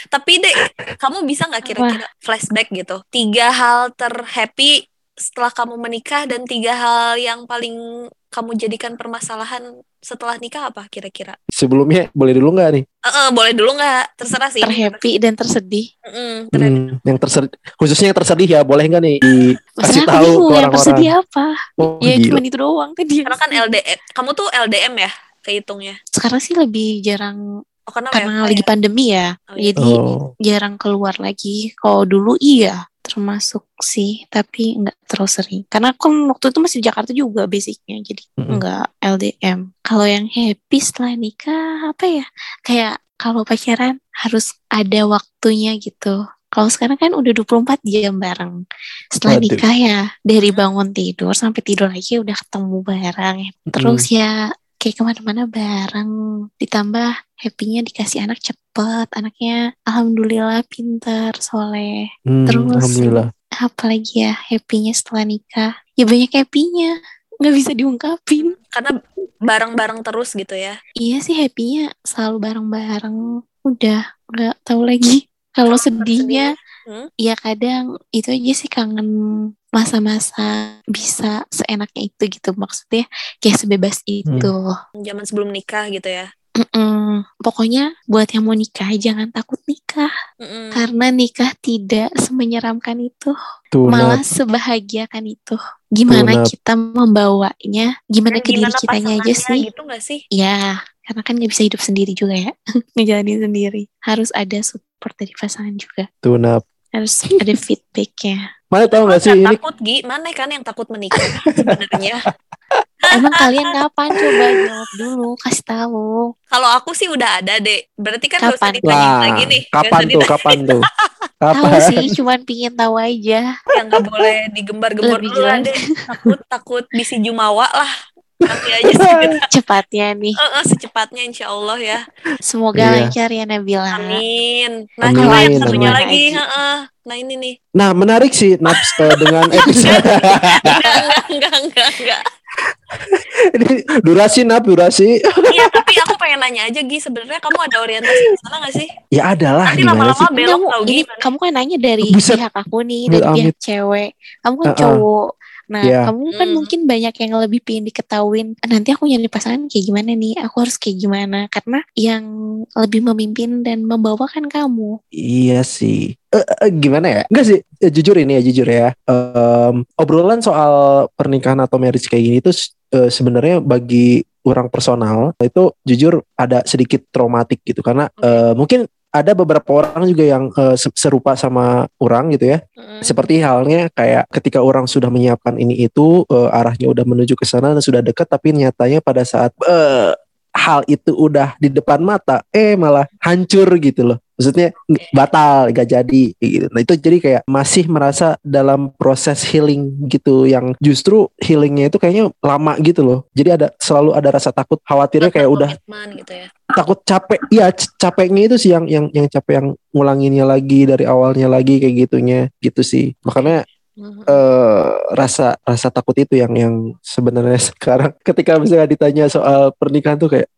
Speaker 1: Tapi deh, kamu bisa nggak kira-kira flashback gitu? Tiga hal terhappy setelah kamu menikah dan tiga hal yang paling kamu jadikan permasalahan setelah nikah apa kira-kira?
Speaker 2: Sebelumnya boleh dulu nggak nih?
Speaker 1: Eh, eh, boleh dulu nggak? Terserah sih.
Speaker 3: Terhappy dan tersedih.
Speaker 1: Mm, ter-
Speaker 2: Hmm, yang tersedih, khususnya yang tersedih ya, boleh nggak nih
Speaker 1: Iya,
Speaker 2: dikasih
Speaker 3: Masalah aku
Speaker 2: tahu ke
Speaker 3: bingung yang tersedih
Speaker 2: orang-orang?
Speaker 3: apa.
Speaker 2: Oh,
Speaker 3: ya
Speaker 2: gila.
Speaker 3: cuma itu doang tadi.
Speaker 1: Karena kan LDM, kamu tuh LDM ya kehitungnya.
Speaker 3: Sekarang sih lebih jarang
Speaker 1: Oh, karena
Speaker 3: karena
Speaker 1: WFH
Speaker 3: lagi
Speaker 1: ya?
Speaker 3: pandemi ya.
Speaker 1: Oh, iya.
Speaker 3: Jadi
Speaker 2: Oh.
Speaker 3: jarang keluar lagi. Kalau dulu iya termasuk sih tapi enggak terlalu sering karena aku waktu itu masih di Jakarta juga basicnya jadi
Speaker 2: Mm-mm.
Speaker 3: enggak LDM kalau yang happy setelah nikah apa ya kayak kalau pacaran harus ada waktunya gitu kalau sekarang kan udah 24 jam bareng setelah
Speaker 2: Waduh.
Speaker 3: nikah ya dari bangun tidur sampai tidur lagi udah ketemu bareng terus ya kayak kemana-mana bareng ditambah happy-nya dikasih anak cepet anaknya alhamdulillah pinter soleh
Speaker 2: Hmm,
Speaker 3: terus-
Speaker 2: alhamdulillah.
Speaker 3: apalagi ya happy-nya setelah nikah ya banyak happy-nya nggak bisa diungkapin
Speaker 1: Karena bareng-bareng terus gitu ya.
Speaker 3: iya sih happy-nya selalu bareng-bareng udah nggak tahu lagi kalau sedihnya
Speaker 1: Hmm?
Speaker 3: ya kadang itu aja sih kangen masa-masa bisa seenaknya itu gitu maksudnya kayak sebebas
Speaker 1: Hmm.
Speaker 3: itu
Speaker 1: Zaman sebelum nikah gitu ya.
Speaker 3: Mm-mm. pokoknya buat yang mau nikah jangan takut
Speaker 1: Hmm.
Speaker 3: nikah
Speaker 1: Mm-mm.
Speaker 3: karena nikah tidak semenyeramkan itu
Speaker 2: Tuh,
Speaker 3: malah
Speaker 2: Nat.
Speaker 3: sebahagiakan itu gimana
Speaker 2: Tunap.
Speaker 3: kita membawanya gimana
Speaker 1: Dan
Speaker 3: ke diri
Speaker 1: gimana
Speaker 3: kitanya aja
Speaker 1: pasangannya
Speaker 3: sih
Speaker 1: gitu nggak sih?
Speaker 3: ya karena kan nggak bisa hidup sendiri juga ya ngejalanin sendiri harus ada support dari pasangan juga
Speaker 2: Tuh, Nat.
Speaker 3: harus ada feedbacknya
Speaker 2: Mana tahu nggak sih
Speaker 1: Oh, Nggak
Speaker 2: ini
Speaker 1: takut Gi, mana kan yang takut menikah sebenarnya.
Speaker 3: emang kalian kapan coba jawab dulu kasih tahu
Speaker 1: Kalau aku sih udah ada deh. Berarti kan nggak usah
Speaker 3: Kapan?
Speaker 1: ditanya
Speaker 2: lah
Speaker 1: lagi nih. Nggak
Speaker 2: kapan
Speaker 1: usah
Speaker 2: tuh
Speaker 1: ditanya
Speaker 2: kapan tuh
Speaker 3: tahu
Speaker 2: kapan
Speaker 3: sih cuman pingin tahu aja
Speaker 1: yang nggak boleh digembar-gembor
Speaker 3: Lebih
Speaker 1: dulu lah
Speaker 3: jelas.
Speaker 1: deh. Takut takut bisi jumawa lah. Nanti aja sih.
Speaker 3: cepatnya nih
Speaker 1: Eh, eh, secepatnya insya Allah ya.
Speaker 3: semoga
Speaker 2: Iya.
Speaker 3: lancar ya Nabila
Speaker 1: Amin. Nah,
Speaker 2: Amin,
Speaker 1: coba yang
Speaker 2: amin.
Speaker 1: satunya
Speaker 2: Amin.
Speaker 1: lagi. heeh. Nah ini nih.
Speaker 2: Nah menarik sih Naps eh, dengan episode
Speaker 1: Enggak, enggak, enggak, enggak, enggak.
Speaker 2: ini durasi Nap durasi.
Speaker 1: Iya, tapi aku pengen nanya aja Gi, sebenarnya kamu ada orientasi ke sana nggak sih?
Speaker 2: Ya adalah
Speaker 1: Nanti
Speaker 2: gimana sih?
Speaker 1: lama-lama Oh, belok
Speaker 3: Kamu,
Speaker 1: tau
Speaker 3: ini
Speaker 1: Gi.
Speaker 3: kamu kan nanya dari
Speaker 2: Buset.
Speaker 3: pihak aku nih,
Speaker 2: Mulut
Speaker 3: dari pihak
Speaker 2: amit.
Speaker 3: cewek. Kamu kan
Speaker 2: Uh-uh.
Speaker 3: cowok. Nah,
Speaker 2: Iya.
Speaker 3: kamu kan
Speaker 1: Hmm.
Speaker 3: mungkin banyak yang lebih pengen diketahuin. Nanti aku nyari pasangan kayak gimana nih? Aku harus kayak gimana? Karena yang lebih memimpin dan membawa kan kamu.
Speaker 2: Iya sih. Eh, eh, gimana ya? Enggak sih. Eh, jujur ini ya, jujur ya. Em, obrolan soal pernikahan atau marriage kayak gini tuh eh, sebenarnya bagi orang personal itu jujur ada sedikit traumatik gitu karena eh, mungkin ada beberapa orang juga yang eh, se- serupa sama orang gitu ya.
Speaker 1: Mm.
Speaker 2: Seperti halnya kayak ketika orang sudah menyiapkan ini itu eh, arahnya udah menuju ke sana dan sudah dekat tapi nyatanya pada saat eh, hal itu udah di depan mata eh malah hancur gitu loh. Maksudnya nge- batal gak jadi kayak gitu. Nah itu jadi kayak masih merasa dalam proses healing gitu yang justru healingnya itu kayaknya lama gitu loh. Jadi ada selalu ada rasa takut khawatirnya kayak udah
Speaker 1: Komitmen gitu ya.
Speaker 2: takut capek ya c- capeknya itu sih yang yang yang capek yang ngulanginnya lagi dari awalnya lagi kayak gitunya gitu sih makanya eh, rasa rasa takut itu yang yang sebenarnya sekarang ketika misalnya ditanya soal pernikahan tuh kayak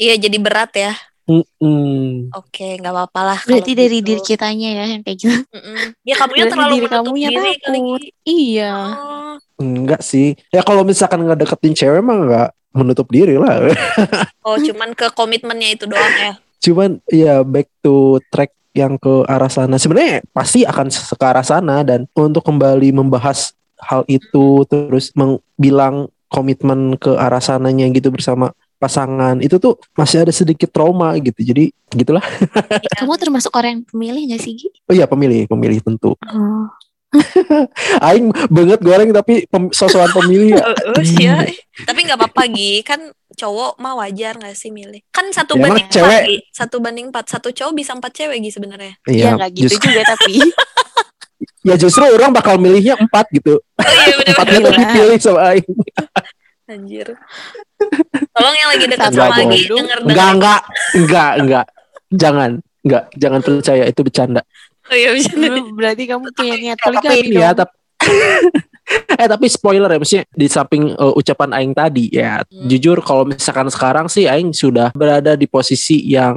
Speaker 1: Iya, jadi berat ya.
Speaker 2: "Mm, mm."
Speaker 1: Oke, nggak apa-apa lah. kalau
Speaker 3: Berarti dari
Speaker 1: gitu.
Speaker 3: diri kitanya ya yang kayak gitu.
Speaker 1: Mm-mm. Ya kamunya
Speaker 3: Berarti
Speaker 1: terlalu
Speaker 3: diri
Speaker 1: menutup
Speaker 3: kamunya
Speaker 1: diri kali
Speaker 3: takut.
Speaker 1: Gi.
Speaker 3: Iya.
Speaker 1: Oh,
Speaker 2: enggak sih ya kalau misalkan nggak deketin cewek mah nggak menutup diri lah
Speaker 1: oh, cuman ke komitmennya itu doang ya.
Speaker 2: cuman ya back to track yang ke arah sana sebenarnya pasti akan se- ke arah sana dan untuk kembali membahas hal itu terus meng- bilang komitmen ke arah sananya gitu bersama pasangan itu tuh masih ada sedikit trauma gitu jadi gitulah
Speaker 1: Iya.
Speaker 3: Kamu termasuk orang yang pemilih gak sih, Gi?
Speaker 2: oh iya pemilih pemilih tentu
Speaker 3: Oh.
Speaker 2: aing banget goreng tapi pem- sosokan pemilih ya.
Speaker 1: Heeh, sih ya. Tapi nggak apa-apa Gi, kan cowok mah wajar nggak sih milih? Kan satu
Speaker 2: Ya,
Speaker 1: banding
Speaker 2: emang cewek-
Speaker 1: empat, Gi. satu banding empat, satu cowok bisa empat cewek Gi sebenarnya.
Speaker 3: Iya, gak gitu
Speaker 2: justru-
Speaker 3: juga tapi.
Speaker 2: ya justru orang bakal milihnya empat gitu
Speaker 1: Oh iya bener-bener.
Speaker 2: empatnya tuh
Speaker 3: Gila.
Speaker 2: dipilih sama aing
Speaker 1: Anjir. Tolong yang lagi dekat
Speaker 2: Enggak,
Speaker 1: sama
Speaker 2: Bo.
Speaker 1: Gi denger
Speaker 2: enggak enggak enggak enggak jangan enggak jangan percaya itu bercanda
Speaker 1: Oh iya bener.
Speaker 3: Berarti kamu punya niat
Speaker 2: Ya, tapi
Speaker 3: poligami
Speaker 2: ini ya,
Speaker 3: dong.
Speaker 2: tapi eh tapi spoiler ya maksudnya di samping eh, ucapan aing tadi ya
Speaker 1: Hmm.
Speaker 2: jujur kalau misalkan sekarang sih aing sudah berada di posisi yang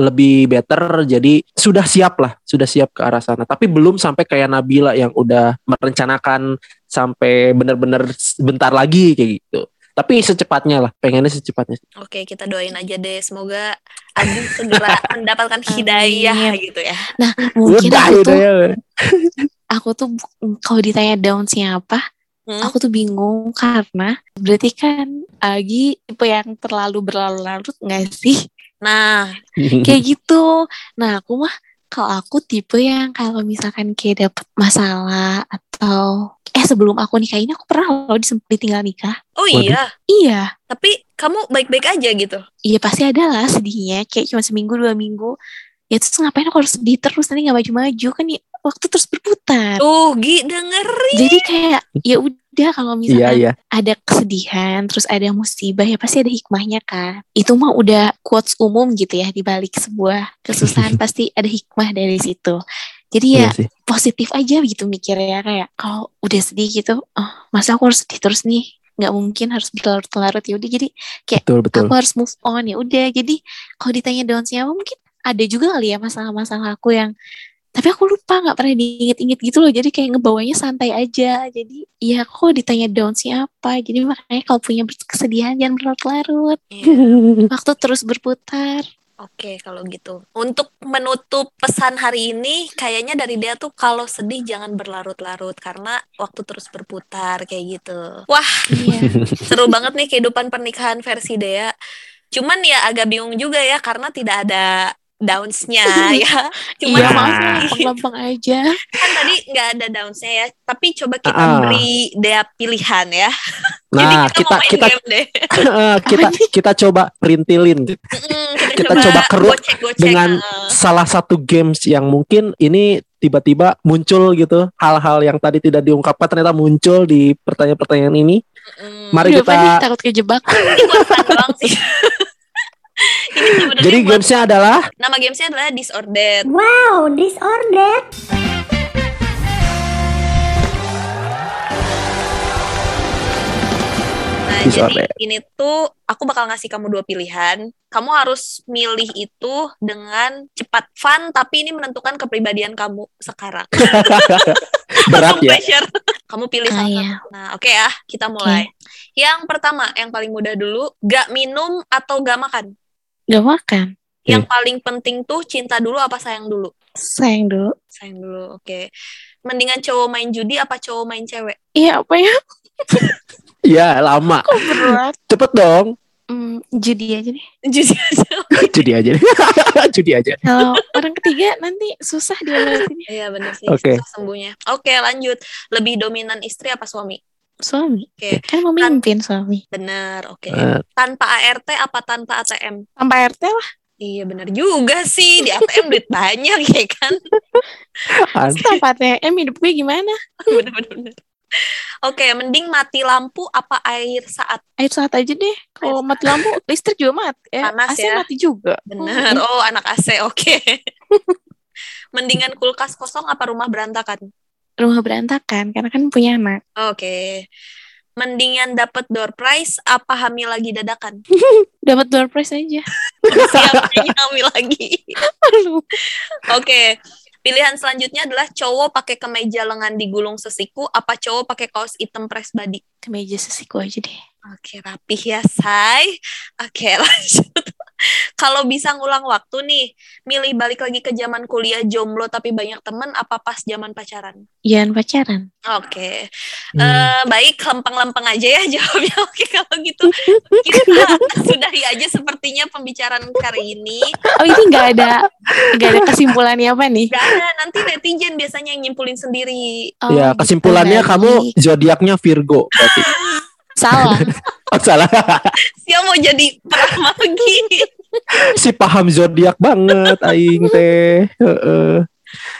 Speaker 2: lebih better jadi sudah siap lah sudah siap ke arah sana tapi belum sampai kayak Nabila yang udah merencanakan sampai bener-bener bentar lagi kayak gitu tapi secepatnya lah pengennya secepatnya
Speaker 1: Oke, kita doain aja deh semoga Abi segera mendapatkan hidayah gitu ya.
Speaker 3: Mungkin
Speaker 2: Udah,
Speaker 3: aku tuh,
Speaker 2: udah, ya.
Speaker 3: aku tuh bu- kalau ditanya down siapa,
Speaker 1: Hmm?
Speaker 3: aku tuh bingung karena berarti kan Agi tipe yang terlalu berlarut-larut gak sih?
Speaker 1: Nah,
Speaker 2: Hmm.
Speaker 3: kayak gitu. Nah aku mah kalau aku tipe yang kalau misalkan kayak dapet masalah atau eh sebelum aku nikah ini aku pernah loh disem- ditinggal nikah.
Speaker 1: oh
Speaker 2: Waduh.
Speaker 1: iya,
Speaker 3: Iya,
Speaker 1: tapi kamu baik-baik aja gitu.
Speaker 3: iya pasti ada lah sedihnya. Kayak cuma seminggu dua minggu. Ya terus ngapain aku harus sedih terus nanti nggak maju-maju kan ya waktu terus berputar.
Speaker 1: Tuh, Uh, Gi dengerin.
Speaker 3: Jadi kayak ya udah kalau
Speaker 2: iya
Speaker 3: misalkan
Speaker 2: iya
Speaker 3: ada kesedihan, terus ada musibah, ya pasti ada hikmahnya kan. Itu mah udah quotes umum gitu ya, di balik sebuah kesusahan pasti ada hikmah dari situ. Jadi
Speaker 2: iya
Speaker 3: ya
Speaker 2: sih
Speaker 3: positif aja gitu mikirnya kayak kalau udah sedih gitu, oh, masa aku harus sedih terus nih? nggak mungkin harus berlarut-larut ya udah jadi
Speaker 2: betul betul
Speaker 3: aku harus move on ya udah jadi kalau ditanya down siapa mungkin ada juga kali ya masalah-masalah aku yang tapi aku lupa nggak pernah diinget-inget gitu loh jadi kayak ngebawanya santai aja jadi ya aku ditanya down siapa jadi makanya kalau punya kesedihan jangan berlarut-larut
Speaker 1: Iya.
Speaker 2: Nah,
Speaker 3: waktu terus berputar
Speaker 1: Oke, kalau gitu. Untuk menutup pesan hari ini, kayaknya dari dia tuh kalau sedih jangan berlarut-larut karena waktu terus berputar kayak gitu. Wah,
Speaker 3: iya
Speaker 1: seru banget nih kehidupan pernikahan versi Dea. Cuman ya agak bingung juga ya karena tidak ada downs-nya ya. Cuman
Speaker 3: iya
Speaker 2: Iya.
Speaker 3: maaf ya gampang-gampang aja
Speaker 1: kan tadi nggak ada downs-nya ya. Tapi coba kita
Speaker 2: Ah.
Speaker 1: beri Dea pilihan ya. Jadi
Speaker 2: nah
Speaker 1: kita, mau main
Speaker 2: kita
Speaker 1: game deh.
Speaker 2: Eh, kita kita coba perintilin
Speaker 1: Mm,
Speaker 2: kita coba keruk
Speaker 1: gocek-gocek.
Speaker 2: dengan
Speaker 1: Ah.
Speaker 2: salah satu games yang mungkin ini tiba-tiba muncul gitu hal-hal yang tadi tidak diungkapkan ternyata muncul di pertanyaan-pertanyaan ini
Speaker 1: Mm.
Speaker 2: Mari
Speaker 3: Udah
Speaker 2: kita-
Speaker 3: panik, takut kejebak
Speaker 1: Ini buat fun doang sih. Ini sebenarnya
Speaker 2: Jadi
Speaker 1: buat-
Speaker 2: gamesnya adalah
Speaker 1: nama gamesnya adalah Disordered.
Speaker 4: Wow, disorder.
Speaker 1: Nah,
Speaker 2: Disordered.
Speaker 1: jadi ini tuh aku bakal ngasih kamu dua pilihan. Kamu harus milih itu dengan cepat fun, tapi ini menentukan kepribadian kamu sekarang.
Speaker 2: berat
Speaker 1: Langsung
Speaker 2: ya.
Speaker 1: pressure. Kamu pilih salah
Speaker 3: Ah, iya.
Speaker 1: satu. Nah, oke ya, kita mulai. Yang pertama, yang paling mudah dulu, gak minum atau gak makan.
Speaker 3: Gak makan.
Speaker 1: Yang
Speaker 2: Hmm.
Speaker 1: paling penting tuh cinta dulu apa sayang dulu.
Speaker 3: Sayang dulu.
Speaker 1: Sayang dulu, oke. Mendingan cowok main judi apa cowok main cewek?
Speaker 3: Iya apa ya?
Speaker 2: Iya lama.
Speaker 3: Kok berat?
Speaker 2: Cepet dong.
Speaker 3: Hmm, judi aja deh.
Speaker 1: Judi aja.
Speaker 2: Judi aja. Judi aja.
Speaker 3: Kalau orang ketiga nanti susah dia ini
Speaker 1: Iya benar sih.
Speaker 2: Oke.
Speaker 1: susah sembuhnya. Oke lanjut. Lebih dominan istri apa suami?
Speaker 3: Suami.
Speaker 1: Oke.
Speaker 3: Kan memimpin suami.
Speaker 1: Bener. Oke.
Speaker 2: Eh,
Speaker 1: Tanpa ART apa tanpa ATM?
Speaker 3: Tanpa RT lah.
Speaker 1: Iya bener juga sih. Di ATM duit banyak ya kan.
Speaker 2: an-
Speaker 3: Tanpa
Speaker 1: Eh,
Speaker 3: ATM hidup gue gimana?
Speaker 1: bener bener. bener. Oke, mending mati lampu apa air saat
Speaker 3: Air saat aja deh. Kalau mati lampu, listrik juga mati. Ya.
Speaker 1: Panas
Speaker 3: AC
Speaker 1: ya.
Speaker 3: mati juga.
Speaker 1: bener.
Speaker 3: Hmm.
Speaker 1: Oh, anak AC. Oke. Mendingan kulkas kosong apa rumah berantakan?
Speaker 3: Rumah berantakan karena kan punya anak.
Speaker 1: Oke. Mendingan dapat door prize apa hamil lagi dadakan?
Speaker 3: Dapat door prize aja.
Speaker 1: Siap kayaknya hamil lagi.
Speaker 3: Aduh.
Speaker 1: Oke. Pilihan selanjutnya adalah cowok pakai kemeja lengan digulung sesiku apa cowok pakai kaos hitam press body.
Speaker 3: Kemeja sesiku aja deh.
Speaker 1: Oke, rapih ya, Say. Oke, lanjut. Kalau bisa ngulang waktu nih, milih balik lagi ke zaman kuliah jomblo tapi banyak temen apa pas zaman pacaran?
Speaker 3: Jangan pacaran.
Speaker 1: Oke.
Speaker 2: Hmm.
Speaker 1: Eh, baik, lempeng-lempeng aja ya jawabnya. Oke, kalau gitu kita sudahi aja sepertinya pembicaraan kali ini.
Speaker 3: Oh ini nggak ada nggak ada kesimpulannya apa nih?
Speaker 1: Gak ada, nanti netizen biasanya yang nyimpulin sendiri.
Speaker 3: Oh,
Speaker 2: ya
Speaker 3: gitu,
Speaker 2: kesimpulannya
Speaker 3: baik.
Speaker 2: kamu zodiaknya Virgo berarti.
Speaker 3: salah.
Speaker 2: Oh, salah.
Speaker 1: Siapa mau jadi perang lagi?
Speaker 2: si paham zodiak banget aing teh. Heeh.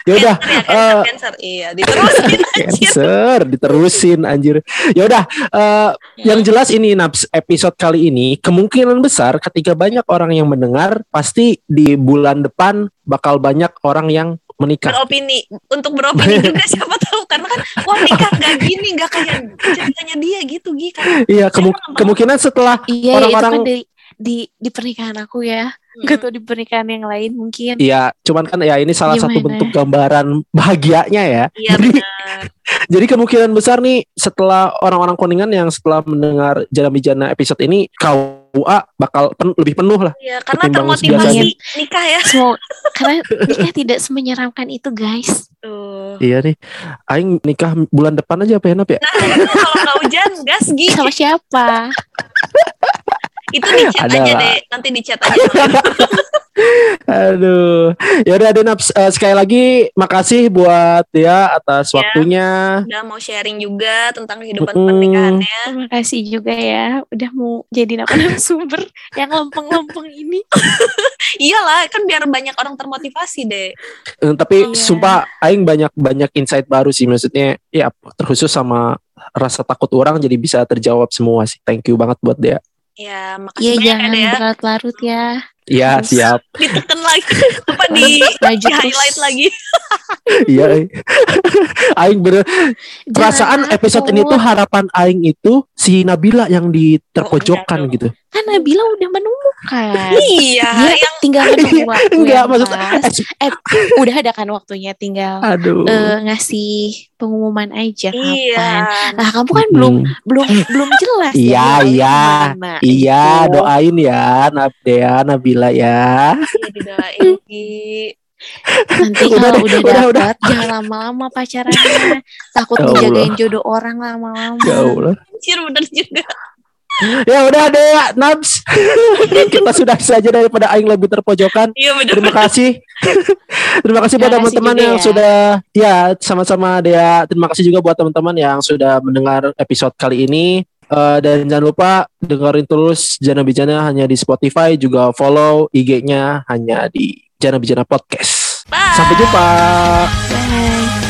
Speaker 2: Ya udah,
Speaker 1: Cancer ya,
Speaker 2: eh,
Speaker 1: cancer, cancer. Iya, diterusin aja.
Speaker 2: cancer
Speaker 1: Gitu.
Speaker 2: diterusin anjir. Ya udah, eh,
Speaker 1: Ya.
Speaker 2: yang jelas ini Naps, episode kali ini kemungkinan besar ketika banyak orang yang mendengar pasti di bulan depan bakal banyak orang yang menikah.
Speaker 1: beropini untuk beropini juga siapa tahu karena kan wah nikah nggak gini nggak kayak ceritanya dia gitu Gi kan
Speaker 2: Iya, kemu- kemungkinan setelah
Speaker 3: Iya ya, itu kan
Speaker 2: Orang-orang-
Speaker 3: dari di di pernikahan aku ya. Nggak tahu di pernikahan yang lain mungkin.
Speaker 2: Iya, cuman kan ya ini salah satu
Speaker 3: Gimana?
Speaker 2: bentuk gambaran bahagianya ya.
Speaker 1: iya
Speaker 2: Jadi-
Speaker 1: benar
Speaker 2: Jadi kemungkinan besar nih setelah orang-orang kuningan yang setelah mendengar Jana Bijana episode ini KUA bakal pen- lebih penuh lah.
Speaker 1: iya karena
Speaker 2: Ketimbang
Speaker 1: termotivasi
Speaker 3: biasanya.
Speaker 1: nikah ya
Speaker 3: Semua karena nikah tidak semenyeramkan itu guys.
Speaker 1: tuh
Speaker 2: Iya nih. Aing nikah bulan depan aja apa ya Nap ya?
Speaker 1: nah kalau nggak hujan gas Gi
Speaker 3: Sama siapa?
Speaker 1: itu di chat
Speaker 2: Ada
Speaker 1: aja
Speaker 2: lah.
Speaker 1: deh nanti di chat aja
Speaker 2: Aduh. Ya udah deh Naps, Eh, sekali lagi makasih buat dia atas
Speaker 1: Ya.
Speaker 2: waktunya.
Speaker 1: udah mau sharing juga tentang kehidupan
Speaker 2: Mm-mm.
Speaker 1: pernikahannya
Speaker 3: Terima kasih juga ya udah mau jadi apa sumber yang lempeng-lempeng ini.
Speaker 1: iyalah kan biar banyak orang termotivasi deh
Speaker 2: Eh, tapi
Speaker 3: Iya.
Speaker 2: sumpah aing banyak-banyak insight baru sih maksudnya. Ya terkhusus sama rasa takut orang jadi bisa terjawab semua sih. Thank you banget buat dia.
Speaker 1: ya makasih
Speaker 3: Iya
Speaker 1: banyak
Speaker 3: jangan
Speaker 1: ya, Dea.
Speaker 3: berlarut-larut ya.
Speaker 2: Iya,
Speaker 3: Terus.
Speaker 2: siap.
Speaker 1: diteken lagi apa di
Speaker 3: Maju
Speaker 1: di
Speaker 3: terus.
Speaker 1: highlight lagi
Speaker 2: Iya. Aing. Aing bener
Speaker 3: Iya, Jangan
Speaker 2: perasaan episode ini tuh
Speaker 3: takut.
Speaker 2: harapan aing itu si Nabila yang
Speaker 1: Oh,
Speaker 2: di terpojokan
Speaker 1: enggak
Speaker 2: gitu.
Speaker 3: kan Nabila udah menemukan. Nah,
Speaker 1: iya
Speaker 3: Dia
Speaker 1: yang
Speaker 3: tinggal menunggu waktu
Speaker 2: Enggak
Speaker 3: yang
Speaker 2: maksud
Speaker 3: pas.
Speaker 2: eh,
Speaker 3: udah ada kan waktunya tinggal
Speaker 2: aduh.
Speaker 3: eh, ngasih pengumuman aja kapan.
Speaker 1: iya
Speaker 3: Nah, kamu kan belum
Speaker 2: Mm,
Speaker 3: belum belum jelas
Speaker 2: Iya,
Speaker 3: ya,
Speaker 2: iya.
Speaker 3: gimana.
Speaker 2: Iya,
Speaker 3: Itu.
Speaker 2: doain ya Nabdea, Nabila ya.
Speaker 1: Iya didoain Gi.
Speaker 3: Nanti
Speaker 2: Udah
Speaker 3: kalau
Speaker 2: deh,
Speaker 3: udah
Speaker 2: udah, udah.
Speaker 3: dapet jangan lama-lama pacarannya. Takut
Speaker 2: Ya Allah.
Speaker 3: ngejagain jodoh orang lama-lama.
Speaker 2: Ya Allah.
Speaker 1: Anjir bener juga
Speaker 2: Ya udah deh, Nabs. Kita sudah saja daripada aing lebih terpojokan.
Speaker 1: Iya bener
Speaker 2: Terima kasih. Terima kasih buat
Speaker 3: Terima kasih
Speaker 2: teman-teman
Speaker 3: juga
Speaker 2: yang
Speaker 3: ya.
Speaker 2: sudah ya sama-sama Dea. Terima kasih juga buat teman-teman yang sudah mendengar episode kali ini. Eh, dan jangan lupa dengerin terus Jana Bijana hanya di Spotify juga follow IG-nya hanya di Jana Bijana Podcast.
Speaker 1: Bye.
Speaker 2: Sampai jumpa.
Speaker 3: Bye.